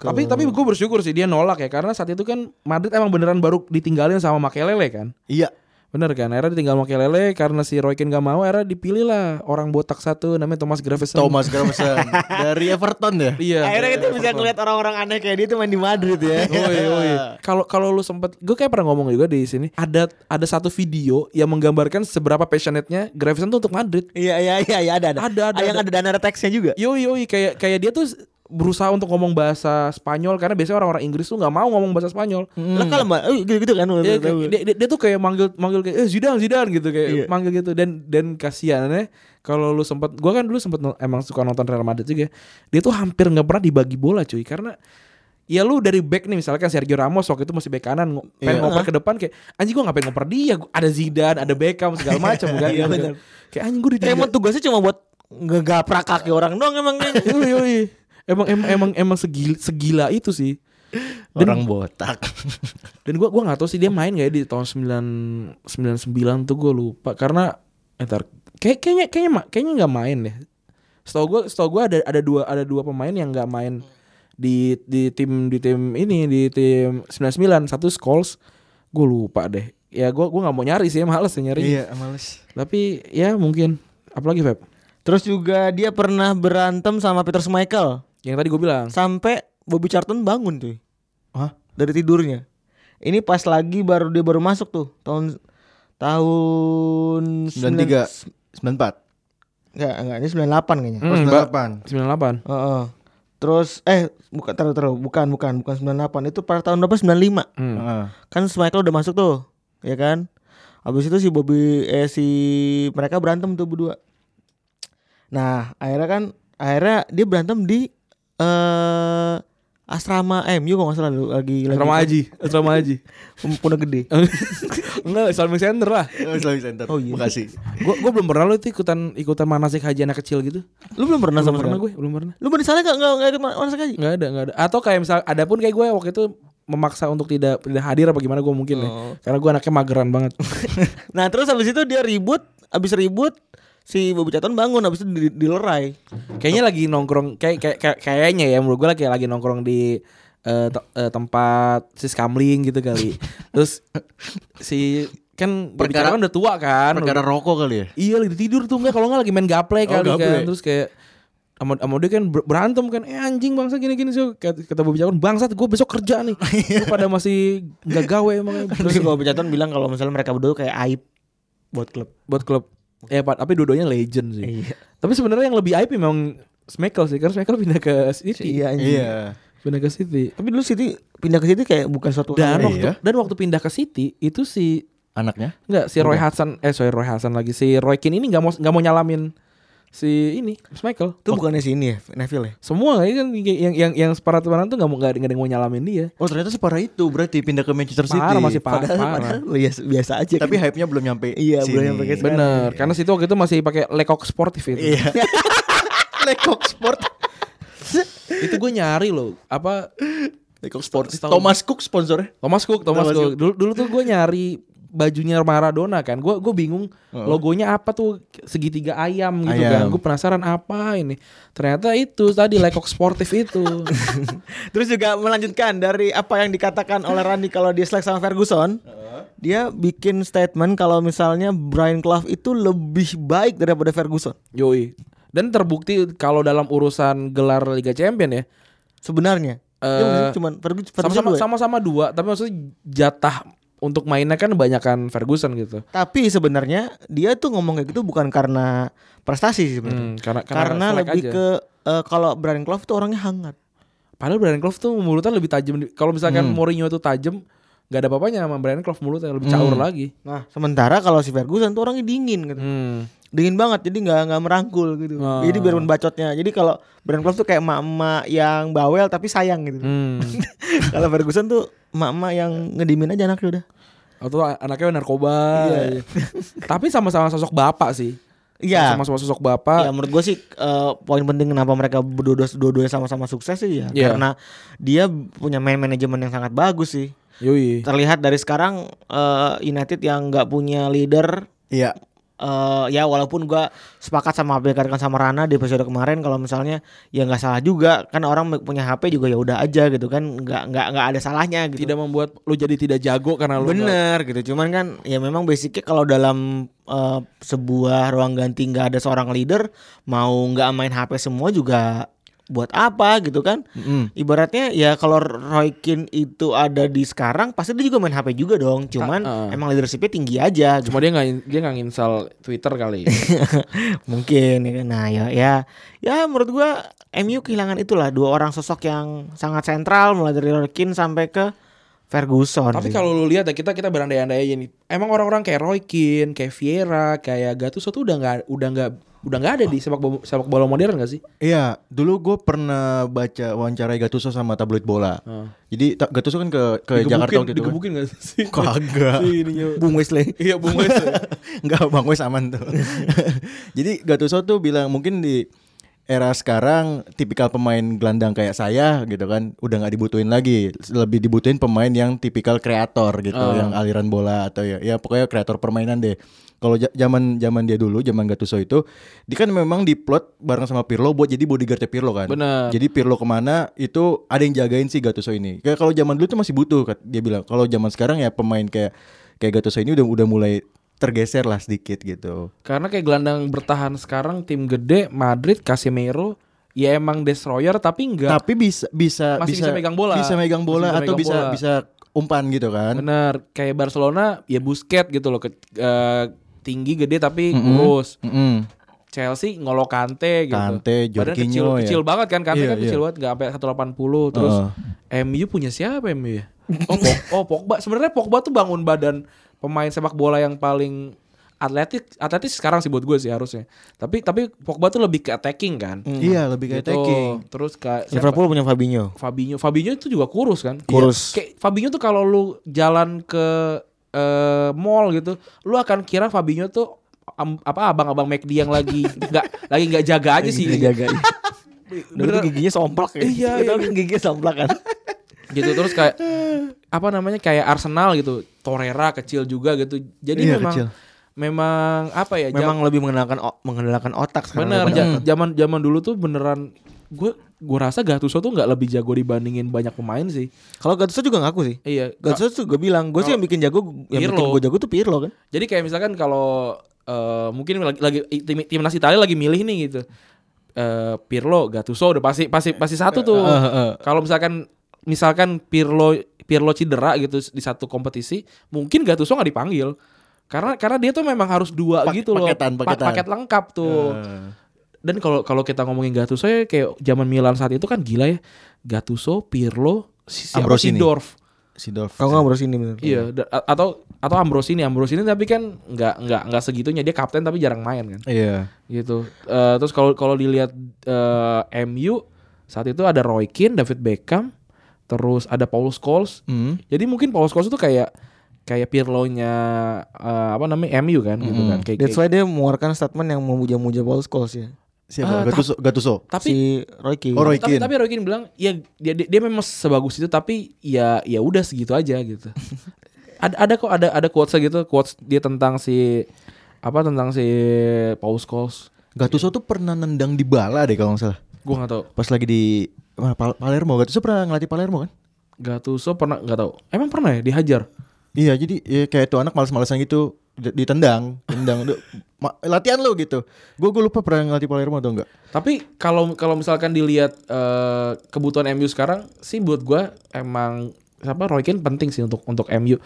ke- Tapi tapi gue bersyukur sih dia nolak ya karena saat itu kan Madrid emang beneran baru ditinggalin sama Makelele kan. Iya. Bener kan? Era ditinggal Makelele karena si Roy Keane gak mau, era dipilih lah orang botak satu namanya Thomas Gravesen. Thomas Gravesen <laughs> dari Everton ya. Iya. akhirnya gitu. kita bisa ngeliat orang-orang aneh kayak dia tuh main di Madrid ya. Oi, oi. Kalau kalau lu sempet, gue kayak pernah ngomong juga di sini. Ada ada satu video yang menggambarkan seberapa passionate-nya Gravesen tuh untuk Madrid. Iya iya iya iya, ada ada. Ada, ada, Ah, yang ada dana teksnya juga. Yoi yoi kayak kayak dia tuh berusaha untuk ngomong bahasa Spanyol karena biasanya orang-orang Inggris tuh nggak mau ngomong bahasa Spanyol. Lah kalau mbak, eh, gitu-gitu kan. Iya, kayak- dia, dia, dia tuh kayak manggil manggil kayak eh Zidane Zidane gitu kayak Iya. manggil gitu dan dan kasihannya kalau lu sempat gua kan dulu sempat emang suka nonton Real Madrid juga ya. dia tuh hampir nggak pernah dibagi bola cuy karena ya lu dari back nih misalkan Sergio Ramos waktu itu masih back kanan ngo- pengen Iya. ngoper ke depan kayak anjing gua ngapain ngoper dia Gua- ada Zidane ada Beckham segala macam kan Iya, gitu. benar. kayak anjing gua ditinggal Emang tugasnya cuma buat ngegaprak kaki orang doang emang. <laughs> Yoi, yoi. Emang emang emang emang segila, segila itu sih. Orang botak. Dan gua gua nggak tahu sih dia main gak ya di tahun 9 99 tuh gue lupa karena entar kayak kayaknya kayaknya ma- kayaknya nggak main deh. Setahu gua setahu gua ada ada dua ada dua pemain yang nggak main di di tim di tim ini di tim 99 satu Scholes gue lupa deh. Ya gua gua nggak mau nyari sih males ya nyari. iya, males. Tapi ya mungkin apalagi Feb <laughs> Terus juga dia pernah berantem sama Peter Schmeichel yang tadi gue bilang sampai Bobby Charlton bangun tuh Hah? dari tidurnya. Ini pas lagi baru dia baru masuk tuh tahun tahun 93 sembilan- 94. Enggak, enggak, ini 98 kayaknya. Hmm, Mbak. 98. 98 Heeh. Terus eh bukan taruh taruh bukan bukan bukan 98 itu pada tahun berapa 95. Hmm. Heeh. Kan Schmeichel udah masuk tuh, ya kan? Habis itu si Bobby eh si mereka berantem tuh berdua. Nah, akhirnya kan akhirnya dia berantem di eh asrama MU kalau nggak salah dulu, lagi Asrama lagi Haji Asrama Haji Pondok Gede. Enggak Islamic Center lah Oh, Islamic Center. Oh, iya. Makasih. Gue gua belum pernah lo itu ikutan ikutan manasik haji anak kecil gitu. Lu belum pernah Belum sama pernah sekali? gue, belum pernah. Lu pernah di sana nggak nggak nggak ikut ma- masak <laughs> haji? Enggak ada, enggak ada. Atau kayak misal ada pun kayak gue waktu itu memaksa untuk tidak tidak hadir apa gimana gue mungkin ya. Karena gue anaknya mageran banget. Nah, terus habis itu dia ribut, habis ribut si Bobby Charlton bangun habis itu di- dilerai. Kayaknya lagi nongkrong kayak kayak kayak- kayaknya ya menurut gue lagi lagi nongkrong di eh, te- eh, tempat sis kamling gitu kali. Terus si kan berbicara Perkara- kan udah tua kan. Perkara rokok kali ya. Iya lagi tidur tuh enggak kalau enggak lagi main gaple Oh, kali kan. gaple. Terus kayak sama, sama dia kan ber- berantem kan eh anjing bangsa gini gini sih kata kata Bobby Charlton bangsat gue besok kerja nih Gua pada masih nggak gawe emang Terus si Bobby Charlton bilang kalau misalnya mereka berdua kayak aib buat klub. buat klub ya Pak, tapi dua-duanya legend sih Iya. tapi sebenarnya yang lebih aib memang Smekel sih karena Smekel pindah ke City Iya anjing. Iya. pindah ke City Tapi dulu City pindah ke City kayak bukan suatu dan hal. waktu Iya. dan waktu pindah ke City itu si Anaknya? Enggak, si Roy Hasan eh sorry Roy Hasan lagi si Roy Keane ini nggak mau nggak mau nyalamin si ini Michael. Itu bukannya si ini ya, Neville ya? Semua kayaknya kan yang yang yang separat tuh nggak mau nggak ada nggak ada yang mau nyalamin dia. Oh ternyata separah itu berarti pindah ke Manchester City. Parah masih parah. Padahal, parah. padahal biasa, biasa aja. Tapi kan. hype-nya belum nyampe. Iya, belum nyampe ke sini. Bener, karena situ waktu itu masih pakai lekok sportif itu. Iya. Lekok Sport. <laughs> itu gue nyari loh, apa Lekok Sport. Setahun. Thomas Cook sponsornya. Thomas Cook, Thomas, Thomas Cook. Dulu dulu tuh gue nyari bajunya Maradona kan. Gue gue bingung Heeh. logonya apa tuh segitiga ayam gitu kan. Ayam. Gue penasaran apa ini. Ternyata itu tadi lekok sportif itu. <laughs> kan. Terus juga melanjutkan dari apa yang dikatakan oleh Randy kalau dia selek sama Ferguson, dia bikin statement kalau misalnya Brian Clough itu lebih baik daripada Ferguson. Yoi. Dan terbukti kalau dalam urusan gelar Liga Champion ya Sebenarnya. Iya, Eh, maksudnya cuman Fergu- Ferguson sama-sama dua ya? sama-sama dua, tapi maksudnya jatah untuk mainnya kan banyakan Ferguson gitu. Tapi sebenarnya dia tuh ngomong kayak gitu bukan karena prestasi sih sebenarnya. Hmm, karena karena selek lebih aja. ke eh, kalau Brian Clough tuh orangnya hangat. Padahal Brian Clough tuh mulutnya lebih tajam. di- Kalau misalkan Mourinho tuh tajam, nggak ada apa-apanya sama Brian Clough mulutnya lebih caur lagi. Nah, sementara kalau si Ferguson tuh orangnya dingin gitu. Hmm. Dingin banget jadi nggak nggak merangkul gitu. Ah. Jadi biar bacotnya. Jadi kalau Brian Clough tuh kayak mama yang bawel tapi sayang gitu. <laughs> Hmm. <laughs> Kalau Ferguson tuh emak-emak yang ngedimin aja anaknya udah. Atau anaknya narkoba. iya. <laughs> Tapi sama-sama sosok bapak sih. Iya. Sama-sama sosok Ya bapak. menurut gue sih eh, poin penting kenapa mereka berdua dua sama-sama sukses sih ya Iya. karena dia punya main manajemen yang sangat bagus sih. Yoi. Terlihat dari sekarang eh, United yang nggak punya leader Iya. eh, ya walaupun gua sepakat sama apa yang dikatakan sama Rana di episode kemarin kalau misalnya ya nggak salah juga kan orang punya HP juga ya udah aja gitu kan nggak nggak nggak ada salahnya gitu. Tidak membuat lu jadi tidak jago karena lu nggak- Bener gitu, cuman kan ya memang basicnya kalau dalam eh, sebuah ruang ganti nggak ada seorang leader mau nggak main HP semua juga buat apa gitu kan? Mm-mm. Ibaratnya ya kalau Roy Keane itu ada di sekarang pasti dia juga main HP juga dong, cuman Ah, ah. emang leadershipnya tinggi aja. gitu. Cuma dia nggak dia nggak install Twitter <laughs> kali. <laughs> Mungkin ya kan? Nah ya ya ya menurut gua MU kehilangan itulah dua orang sosok yang sangat sentral mulai dari Roy Keane sampai ke Ferguson. Tapi sih. kalau lu lihat ya kita kita berandai-andai aja nih. Emang orang-orang kayak Roy Keane, kayak Vieira, kayak Gattuso tuh udah nggak udah nggak udah nggak ada di sepak bo- sepak bola modern gak sih? Iya, dulu gue pernah baca wawancara Gattuso sama tabloid bola. Heeh. Jadi ta- Gattuso kan ke ke Jakarta waktu itu. kan. Ah. digebukin gak sih? Kagak. Si ininya- Bung Wesley Iya Bung Wes. <laughs> Enggak, Bang Wes aman tuh. <laughs> Jadi Gattuso tuh bilang mungkin di era sekarang tipikal pemain gelandang kayak saya gitu kan udah nggak dibutuhin lagi lebih dibutuhin pemain yang tipikal kreator gitu Ah. yang aliran bola atau ya ya pokoknya kreator permainan deh kalau ja- zaman zaman dia dulu zaman Gattuso itu dia kan memang diplot bareng sama Pirlo buat jadi bodyguardnya Pirlo kan Bener. jadi Pirlo kemana itu ada yang jagain si Gattuso ini. Kayak kalau zaman dulu tuh masih butuh kat- dia bilang. Kalau zaman sekarang ya pemain kayak kayak Gattuso ini udah udah mulai tergeser lah sedikit gitu. <laughs> Karena kayak gelandang bertahan sekarang tim gede Madrid Casemiro ya emang destroyer tapi enggak Tapi bisa bisa Masih bisa megang bola. Bisa megang Masih bola bisa atau megang bisa bola. bisa umpan gitu kan. bener kayak Barcelona ya Busquets gitu loh ke, eh, tinggi gede tapi Mm-mm. kurus. Mm-mm. Chelsea ngolo Kante gitu. Kante, Padahal kecil, Jorginho ya. kecil banget kan Kante kan Iya, kecil iya. banget nggak sampai 180 terus Heeh. MU punya siapa MU ya? Oh, <laughs> Pog- oh Pogba. Sebenarnya Pogba tuh bangun badan pemain sepak bola yang paling atletik atletis sekarang sih buat gue sih harusnya. Tapi tapi Pogba tuh lebih ke attacking kan. Iya, lebih kayak Gitu. attacking. Terus kayak siapa? Liverpool punya Fabinho. Fabinho. Fabinho itu juga kurus kan? Kurus. Kayak Fabinho tuh kalau lu jalan ke eh, mall gitu, lu akan kira Fabinho tuh am- apa abang-abang McD yang lagi nggak lagi nggak jaga aja sih. Dulu tuh Bener. giginya somplak ya. Iya, Kita iya. kan giginya somplak kan. gitu terus kayak apa namanya kayak Arsenal gitu, Torreira kecil juga gitu. Jadi Iya, memang kecil. memang apa ya? jam- <laughs> Memang lebih mengenalkan o- mengandalkan otak sekarang. bener daripada- ja- zaman zaman dulu tuh beneran gue gue rasa Gattuso tuh nggak lebih jago dibandingin banyak pemain sih. Kalau Gattuso juga ngaku sih. Iya, Gattuso juga bilang, gue sih yang bikin jago, yang bikin Pirlo. gue jago tuh Pirlo kan. Jadi kayak misalkan kalau eh, mungkin lagi, lagi tim, timnas Italia lagi milih nih gitu. Eh Pirlo, Gattuso udah pasti pasti pasti satu tuh. Eh, Kalau misalkan misalkan Pirlo Pirlo cedera gitu di satu kompetisi, mungkin Gattuso nggak dipanggil. Karena karena dia tuh memang harus dua Pak- gitu loh. paketan, Pa- paketan. Eh. Paket lengkap tuh. Ah, Dan kalau kalau kita ngomongin Gattuso ya kayak zaman Milan saat itu kan gila ya. Gattuso, Pirlo, si, siapa? Ambrosini. Sidorf. Si Dorf. Kau nggak baru sini bener. Iya, da- a- atau atau Ambrosini Ambrosini tapi kan nggak nggak nggak segitunya dia kapten tapi jarang main kan Iya. gitu Eh, terus kalau kalau dilihat eh, MU saat itu ada Roy Keane David Beckham terus ada Paul Scholes Hmm. jadi mungkin Paul Scholes itu kayak kayak Pirlo-nya eh, apa namanya MU kan gitu kan kayak, That's kayak- why dia mengeluarkan statement yang memuja-muja Paul Scholes ya. Ah, Siapa? Gattuso, Gattuso. tapi si Roy Keane. Oh, Roy tapi Keane. tapi Roy Keane bilang ya dia, dia dia memang sebagus itu tapi ya ya udah segitu aja <laughs> gitu ada ada kok ada ada quotes gitu quotes dia tentang si apa tentang si Paul Scholes Gattuso Iya. tuh pernah nendang di bala deh kalau nggak salah. gue nggak tahu Pas lagi di mana, Pal- Palermo. Gattuso pernah ngelatih Palermo kan? Gattuso pernah nggak tahu emang pernah ya dihajar Iya, jadi ya, kayak tuh anak males-malesan gitu D- ditendang, tendang Duh, ma- latihan lu gitu. Gue gue lupa pernah ngelatih Palermo atau enggak. tapi kalau kalau misalkan dilihat eh, kebutuhan MU sekarang sih buat gua emang siapa Roy Keane penting sih untuk untuk MU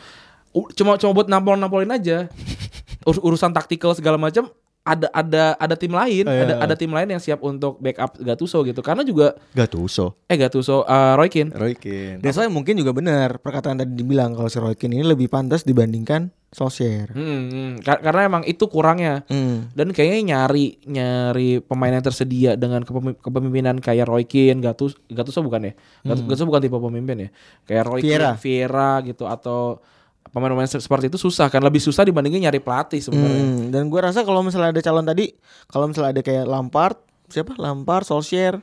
U- cuma cuma buat nampol nampolin aja Ur- urusan taktikal segala macam ada ada ada tim lain Iya. ada ada tim lain yang siap untuk backup Gattuso gitu karena juga Gattuso, eh Gattuso eh, Roy Keane Roy Keane. That's why mungkin juga benar perkataan tadi dibilang kalau si Roy Keane ini lebih pantas dibandingkan Solskjaer. Hmm, hmm. Ka- karena emang itu kurangnya Hmm. dan kayaknya nyari nyari pemain yang tersedia dengan kepemi- kepemimpinan kayak Roy Keane, Gatus Gattuso bukan ya? Gat- Gattuso bukan tipe pemimpin ya. Kayak Roy Hmm. Vieira. Keane, Vieira gitu atau pemain-pemain se- seperti itu susah kan lebih susah dibandingin nyari pelatih sebenarnya. Hmm, Dan gue rasa kalau misalnya ada calon tadi, kalau misalnya ada kayak Lampard, siapa? Lampard, Solskjaer,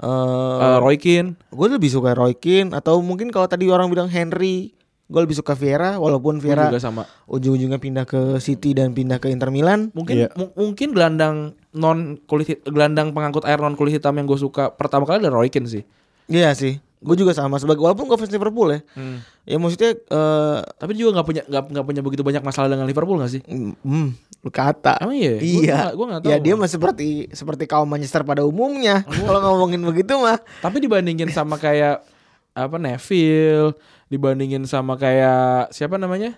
eh Eh, Roy Keane, gue lebih suka Roy Keane atau mungkin kalau tadi orang bilang Henry, gue lebih suka Vieira walaupun gue Vieira juga sama. ujung-ujungnya pindah ke City dan pindah ke Inter Milan. Mungkin Iya. mu- mungkin gelandang non kulit hit- gelandang pengangkut air non kulit hitam yang gue suka pertama kali adalah Roy Keane sih. Iya sih. Gue juga sama sebagai walaupun gue fans Liverpool ya. Hmm. Ya maksudnya eh Tapi dia juga nggak punya nggak nggak punya begitu banyak masalah dengan Liverpool nggak sih? mm, hmm, lu kata. Emang iya? Gua- Iya. gua nggak- gua nggak tahu. Ya dia mah seperti seperti kaum Manchester pada umumnya. kalau ngomongin begitu mah Tapi dibandingin sama kayak apa Neville, dibandingin sama kayak siapa namanya?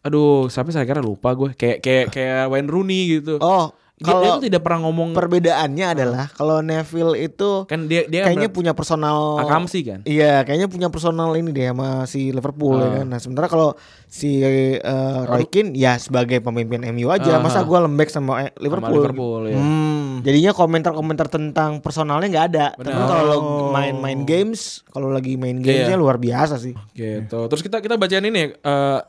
Aduh, sampai saya kira lupa gue. Kayak kayak kayak Wayne Rooney gitu. oh dia, dia kalau tuh tidak pernah ngomong perbedaannya adalah kalau Neville itu kan dia dia kayaknya bener- punya personal Akamsi kan. Iya, kayaknya punya personal ini deh sama si Liverpool Ah. ya kan. Nah, sementara kalau si eh, Roy Keane ya sebagai pemimpin MU aja, Ah. masa gua lembek sama eh, Sama Liverpool. Liverpool ya. Hmm. Jadinya komentar-komentar tentang personalnya nggak ada. Tapi Benar. Oh. Iya. kalau lo main-main games, kalau lagi main gamesnya luar biasa sih. Gitu. Terus kita kita bacain ini eh,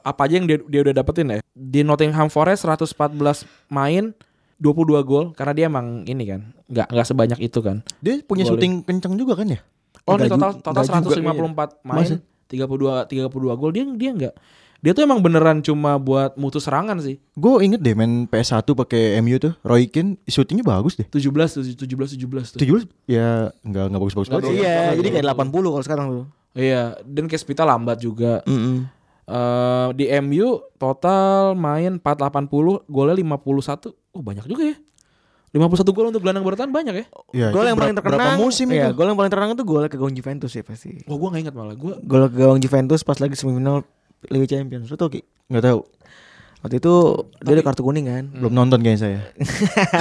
apa aja yang dia, dia udah dapetin ya. Di Nottingham Forest 114 main 22 gol karena dia emang ini kan nggak nggak sebanyak itu kan. Dia punya Golin. syuting kenceng juga kan ya? Oh, ini Nggak total ju- total nggak juga 154 main, Masa? 32 32 gol dia dia enggak. Dia tuh emang beneran cuma buat mutus serangan sih. Gue inget deh main PS1 pakai MU tuh, Roy Keane syutingnya bagus deh. 17 17 17 tuh. 17 ya nggak nggak bagus-bagus Nggak banget. bagus. sih. Iya, jadi kayak 80 kalau sekarang tuh. Iya, dan Kespita lambat juga. Eh, di MU total main 480, golnya 51. Oh, banyak juga ya. 51 gol untuk gelandang bertahan banyak ya. Iya, gol itu yang paling berapa- terkenang berapa musim iya, itu? gol yang paling terkenang itu gol ke gawang Juventus ya pasti. Wah, Oh, gua nggak ingat malah. Gua Gol ke gawang Juventus pas lagi semifinal Liga Champions. Lu tau Ki? Nggak tahu, Waktu itu dia ada kartu kuning kan. belum nonton kayaknya saya. <laughs>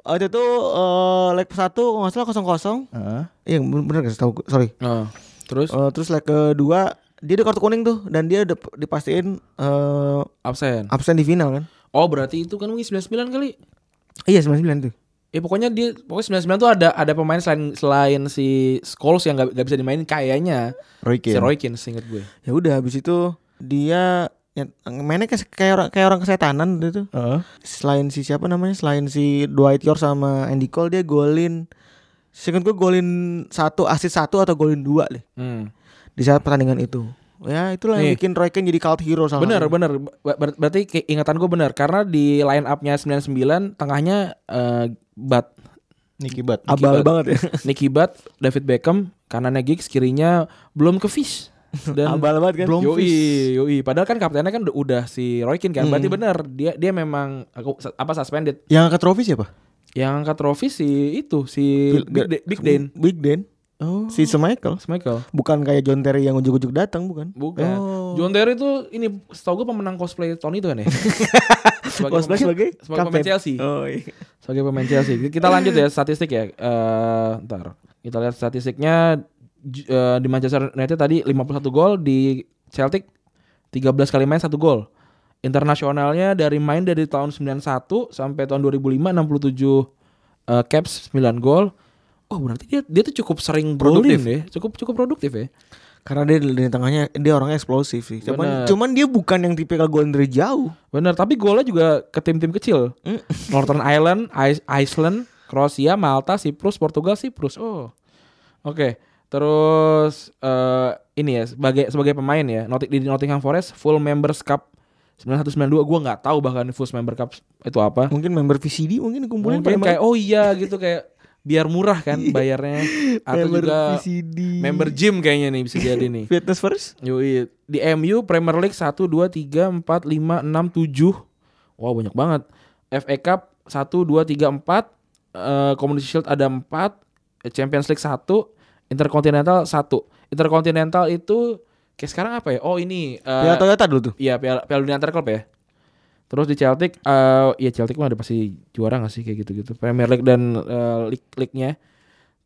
Waktu itu eh leg satu kalau nggak salah kosong kosong. Heeh. Iya bener bener nggak sih? tahu. Sorry. Nah, terus Eh, terus leg kedua dia ada kartu kuning tuh dan dia dap- dipastiin eh absen. absen di final kan. Oh, berarti itu kan mungkin 99 kali. Iya 99 tuh. Ya pokoknya dia pokoknya 99 tuh ada ada pemain selain selain si Scholes yang nggak nggak bisa dimainin kayaknya Roy si Keane. Roy Keane seinget gue. Ya udah habis itu dia nyet- mainnya kayak kayak orang, kayak orang kesetanan dia tuh. Heeh. Selain si siapa namanya? Selain si Dwight York sama Andy Cole dia golin Seingat gue golin satu asis satu atau golin dua deh Hmm. di saat pertandingan itu. Ya itulah yang Nih. bikin Roy Keane jadi cult hero salah Bener satunya. bener Ba- ber- berarti ke- ingatan gue bener karena di line upnya 99 tengahnya eh, Bat <laughs> Nicky Butt. Abal Akibat- banget ya. Nicky Bat, David Beckham, kanannya Giggs, kirinya belum ke Fish. Dan <laughs> <laughs> Abal banget kan. Blom- Yoi, yoi. Padahal kan kaptennya kan udah- udah si Roy Keane kan. Berarti Hmm. bener dia dia memang aku sa- apa suspended. Yang angkat trofi siapa? Yang angkat trofi si itu si Bil- Big, Da- Big Dan. Big Dan. Oh. Si Sir Michael. Michael. Bukan kayak John Terry yang ujuk-ujuk datang bukan? Oh. Bukan. John Terry itu ini setahu gue pemenang cosplay Tony itu <laughs> kan ya. sebagai pemain- Cosplay Oh, sebagai sebagai pemain kapten. Chelsea. Oh, iya. Sebagai pemain Chelsea. Kita lanjut ya statistik ya. Eh ntar kita lihat statistiknya J- eh, di Manchester United tadi 51 gol di Celtic 13 kali main satu gol. Internasionalnya dari main dari tahun 91 sampai tahun 2005 67 eh, caps 9 gol. Oh, berarti dia dia tuh cukup sering golin Produktif. ya. Cukup cukup produktif ya. Karena dia di lini tengahnya dia orangnya eksplosif sih. Bener. Cuman cuman dia bukan yang tipikal golin dari jauh. Bener, tapi golnya juga ke tim-tim kecil. Mm. <laughs> Northern Ireland, Ice- Iceland, Kroasia, Malta, Siprus, Portugal, Siprus. Oh. Oke. Terus eh ini ya sebagai sebagai pemain ya Notting- di Nottingham Forest full members cup 9192 gua nggak tahu bahkan full member cup itu apa. Mungkin member VCD mungkin dikumpulin Mungkin pada Iya. kayak oh iya gitu kayak biar murah <laughs> kan bayarnya atau member juga VCD. member gym kayaknya nih bisa jadi nih. Fitness First. Yoi. Di MU Premier League 1 2 3 4 5 6 7. Wah, banyak banget. FA Cup 1 2 3 4. Eh, Community Shield ada 4, Eh, Champions League 1, Intercontinental 1. Intercontinental itu kayak sekarang apa ya? Oh, ini eh, Piala Toyota dulu tuh. Iya, Piala Piala Dunia Antar Klub ya. Terus di Celtic eh ya Celtic mah ada pasti juara gak sih kayak gitu-gitu. Premier League dan eh, league league-nya.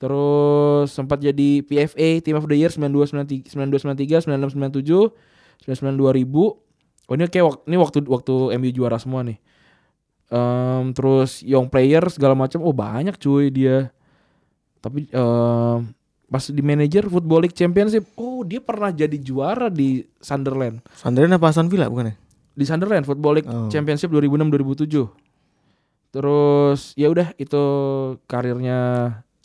Terus sempat jadi PFA Team of the Year 92 93 92 97 99 2000. Oh ini kayak wak- ini waktu waktu MU juara semua nih. Em, terus young player segala macam. Oh banyak cuy dia. Tapi em, pas di manager Football League Championship, oh dia pernah jadi juara di Sunderland Sunderland apa Aston Villa bukan ya? di Sunderland Football League Oh. Championship 2006 2007. Terus ya udah itu karirnya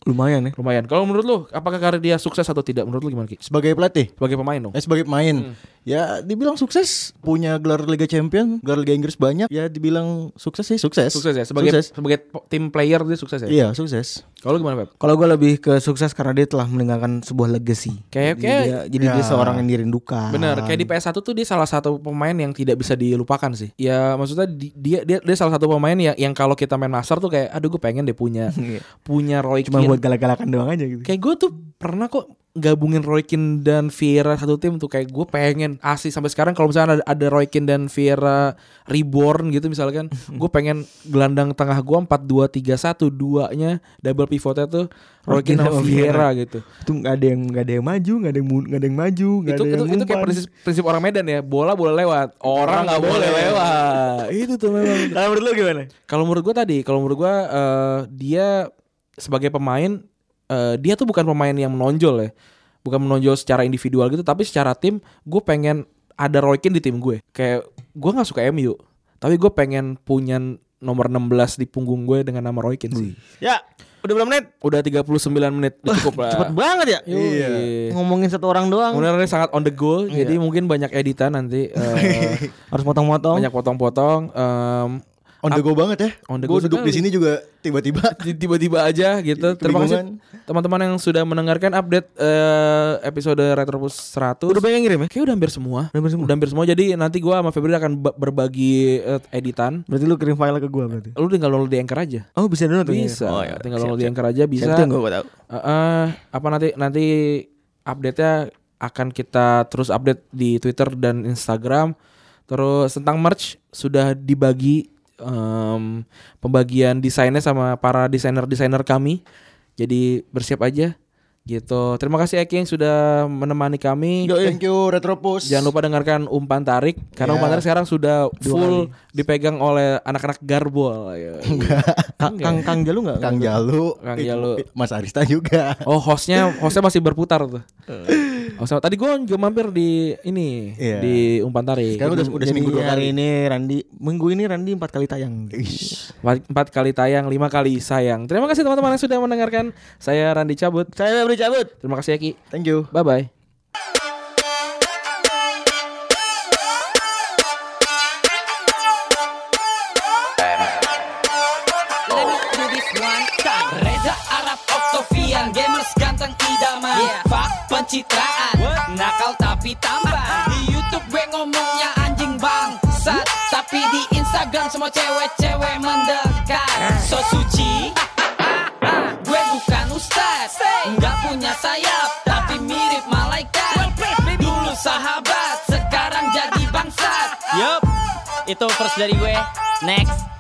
Lumayan ya. lumayan. Kalau menurut lu apakah karir dia sukses atau tidak? Menurut lu gimana Ki? Sebagai pelatih, Sebagai pemain dong. eh sebagai Hmm. pemain, ya dibilang sukses, punya gelar Liga Champion, gelar Liga Inggris banyak, ya dibilang sukses sih sukses. Sukses ya sebagai Sukses. sebagai po- tim player dia sukses ya. Iya, sukses. Kalau lu gimana Pep? Kalau gue lebih ke sukses karena dia telah meninggalkan sebuah legacy. Kayak- jadi kayak- dia, ah. jadi dia Ya. seorang yang dirindukan. Bener, kayak di PS1 tuh dia salah satu pemain yang tidak bisa dilupakan sih. Ya maksudnya di- dia dia, dia salah satu pemain yang yang kalau kita main master tuh kayak aduh gue pengen deh punya Iya. punya Roy Cuma Keane. buat galak-galakan doang aja gitu. Kayak gue tuh pernah kok gabungin Roy Keane dan Vieira satu tim tuh kayak gue pengen asli sampai sekarang kalau misalnya ada, ada Roy Keane dan Vieira reborn gitu <laughs> misalkan gue pengen gelandang tengah gue 4 2 3 1 2-nya double pivotnya tuh Roy Keane sama Vieira gitu. Itu nggak ada yang nggak ada yang maju, nggak ada yang mu- nggak ada yang maju, nggak itu ada itu, yang itu kayak umpan. prinsip prinsip orang Medan ya, bola boleh lewat, orang nggak boleh lewat. <laughs> itu tuh memang. Kalau Nah, menurut lu gimana? Kalau menurut gua tadi, kalau menurut gua eh, dia sebagai pemain eh, dia tuh bukan pemain yang menonjol ya, bukan menonjol secara individual gitu, tapi secara tim gue pengen ada Roy Keane di tim gue. Kayak gua nggak suka MU, tapi gue pengen punya nomor 16 di punggung gue dengan nama Roy Keane sih. Ya, udah berapa menit? Udah 39 menit, udah cukup lah. Cepet banget ya. Iya. Ngomongin satu orang doang. Kemudian ini sangat on the go, jadi mungkin banyak editan nanti, eh, Harus potong-potong. banyak potong-potong. em, On the go banget ya. On the Gua go duduk di sekali. sini juga <laughs> tiba-tiba tiba-tiba aja gitu. Terima kasih teman-teman yang sudah mendengarkan update eh, episode Retropus 100. Udah banyak yang ngirim ya? Kayaknya udah hampir semua. Udah hampir semua. Udah hampir semua. Jadi nanti gua sama Febri akan ba- berbagi eh, editan. Berarti lu kirim file ke gua berarti. Lu tinggal download di Anchor aja. Oh, bisa download tuh, Bisa. ya? Oh, ya. tinggal udah. Siap, download di siap. Anchor aja bisa. Siap, itu yang gua nggak tahu. Eh, eh, apa nanti nanti update-nya akan kita terus update di Twitter dan Instagram. Terus tentang merch sudah dibagi em, pembagian desainnya sama para desainer-desainer kami. Jadi bersiap aja gitu. Terima kasih Eki yang sudah menemani kami. Thank you Retropus. Jangan lupa dengarkan umpan tarik karena Ya. umpan tarik sekarang sudah full dipegang oleh anak-anak garbol. ya. Kang Kang Kan Kang Jalu enggak? Kang Jalu, Kang It- Jalu. It- Mas Arista juga. Oh hostnya hostnya masih berputar tuh. Hostnya- tadi gue juga mampir di ini Eh. Iya. di umpan tarik. Sekarang udah udah seminggu dua hari kali. ini Randi minggu ini Randi empat kali tayang. Ish. Empat empat kali tayang, lima kali sayang. Terima kasih teman-teman yang sudah mendengarkan. Saya Randi cabut. Saya beri cabut. Terima kasih Eki. Thank you. Bye bye. Let me do this one time. Reza Arab Octavian Gamers ganteng idaman Fak pencitraan Nakal tapi tampan Di Youtube gue ngomongnya anjing bangsat Tapi di Instagram semua cewek-cewek mendekat So suci Gue bukan ustaz Nggak punya sayap Tapi mirip malaikat Dulu sahabat Sekarang jadi bangsat Yup, itu first dari gue. Next.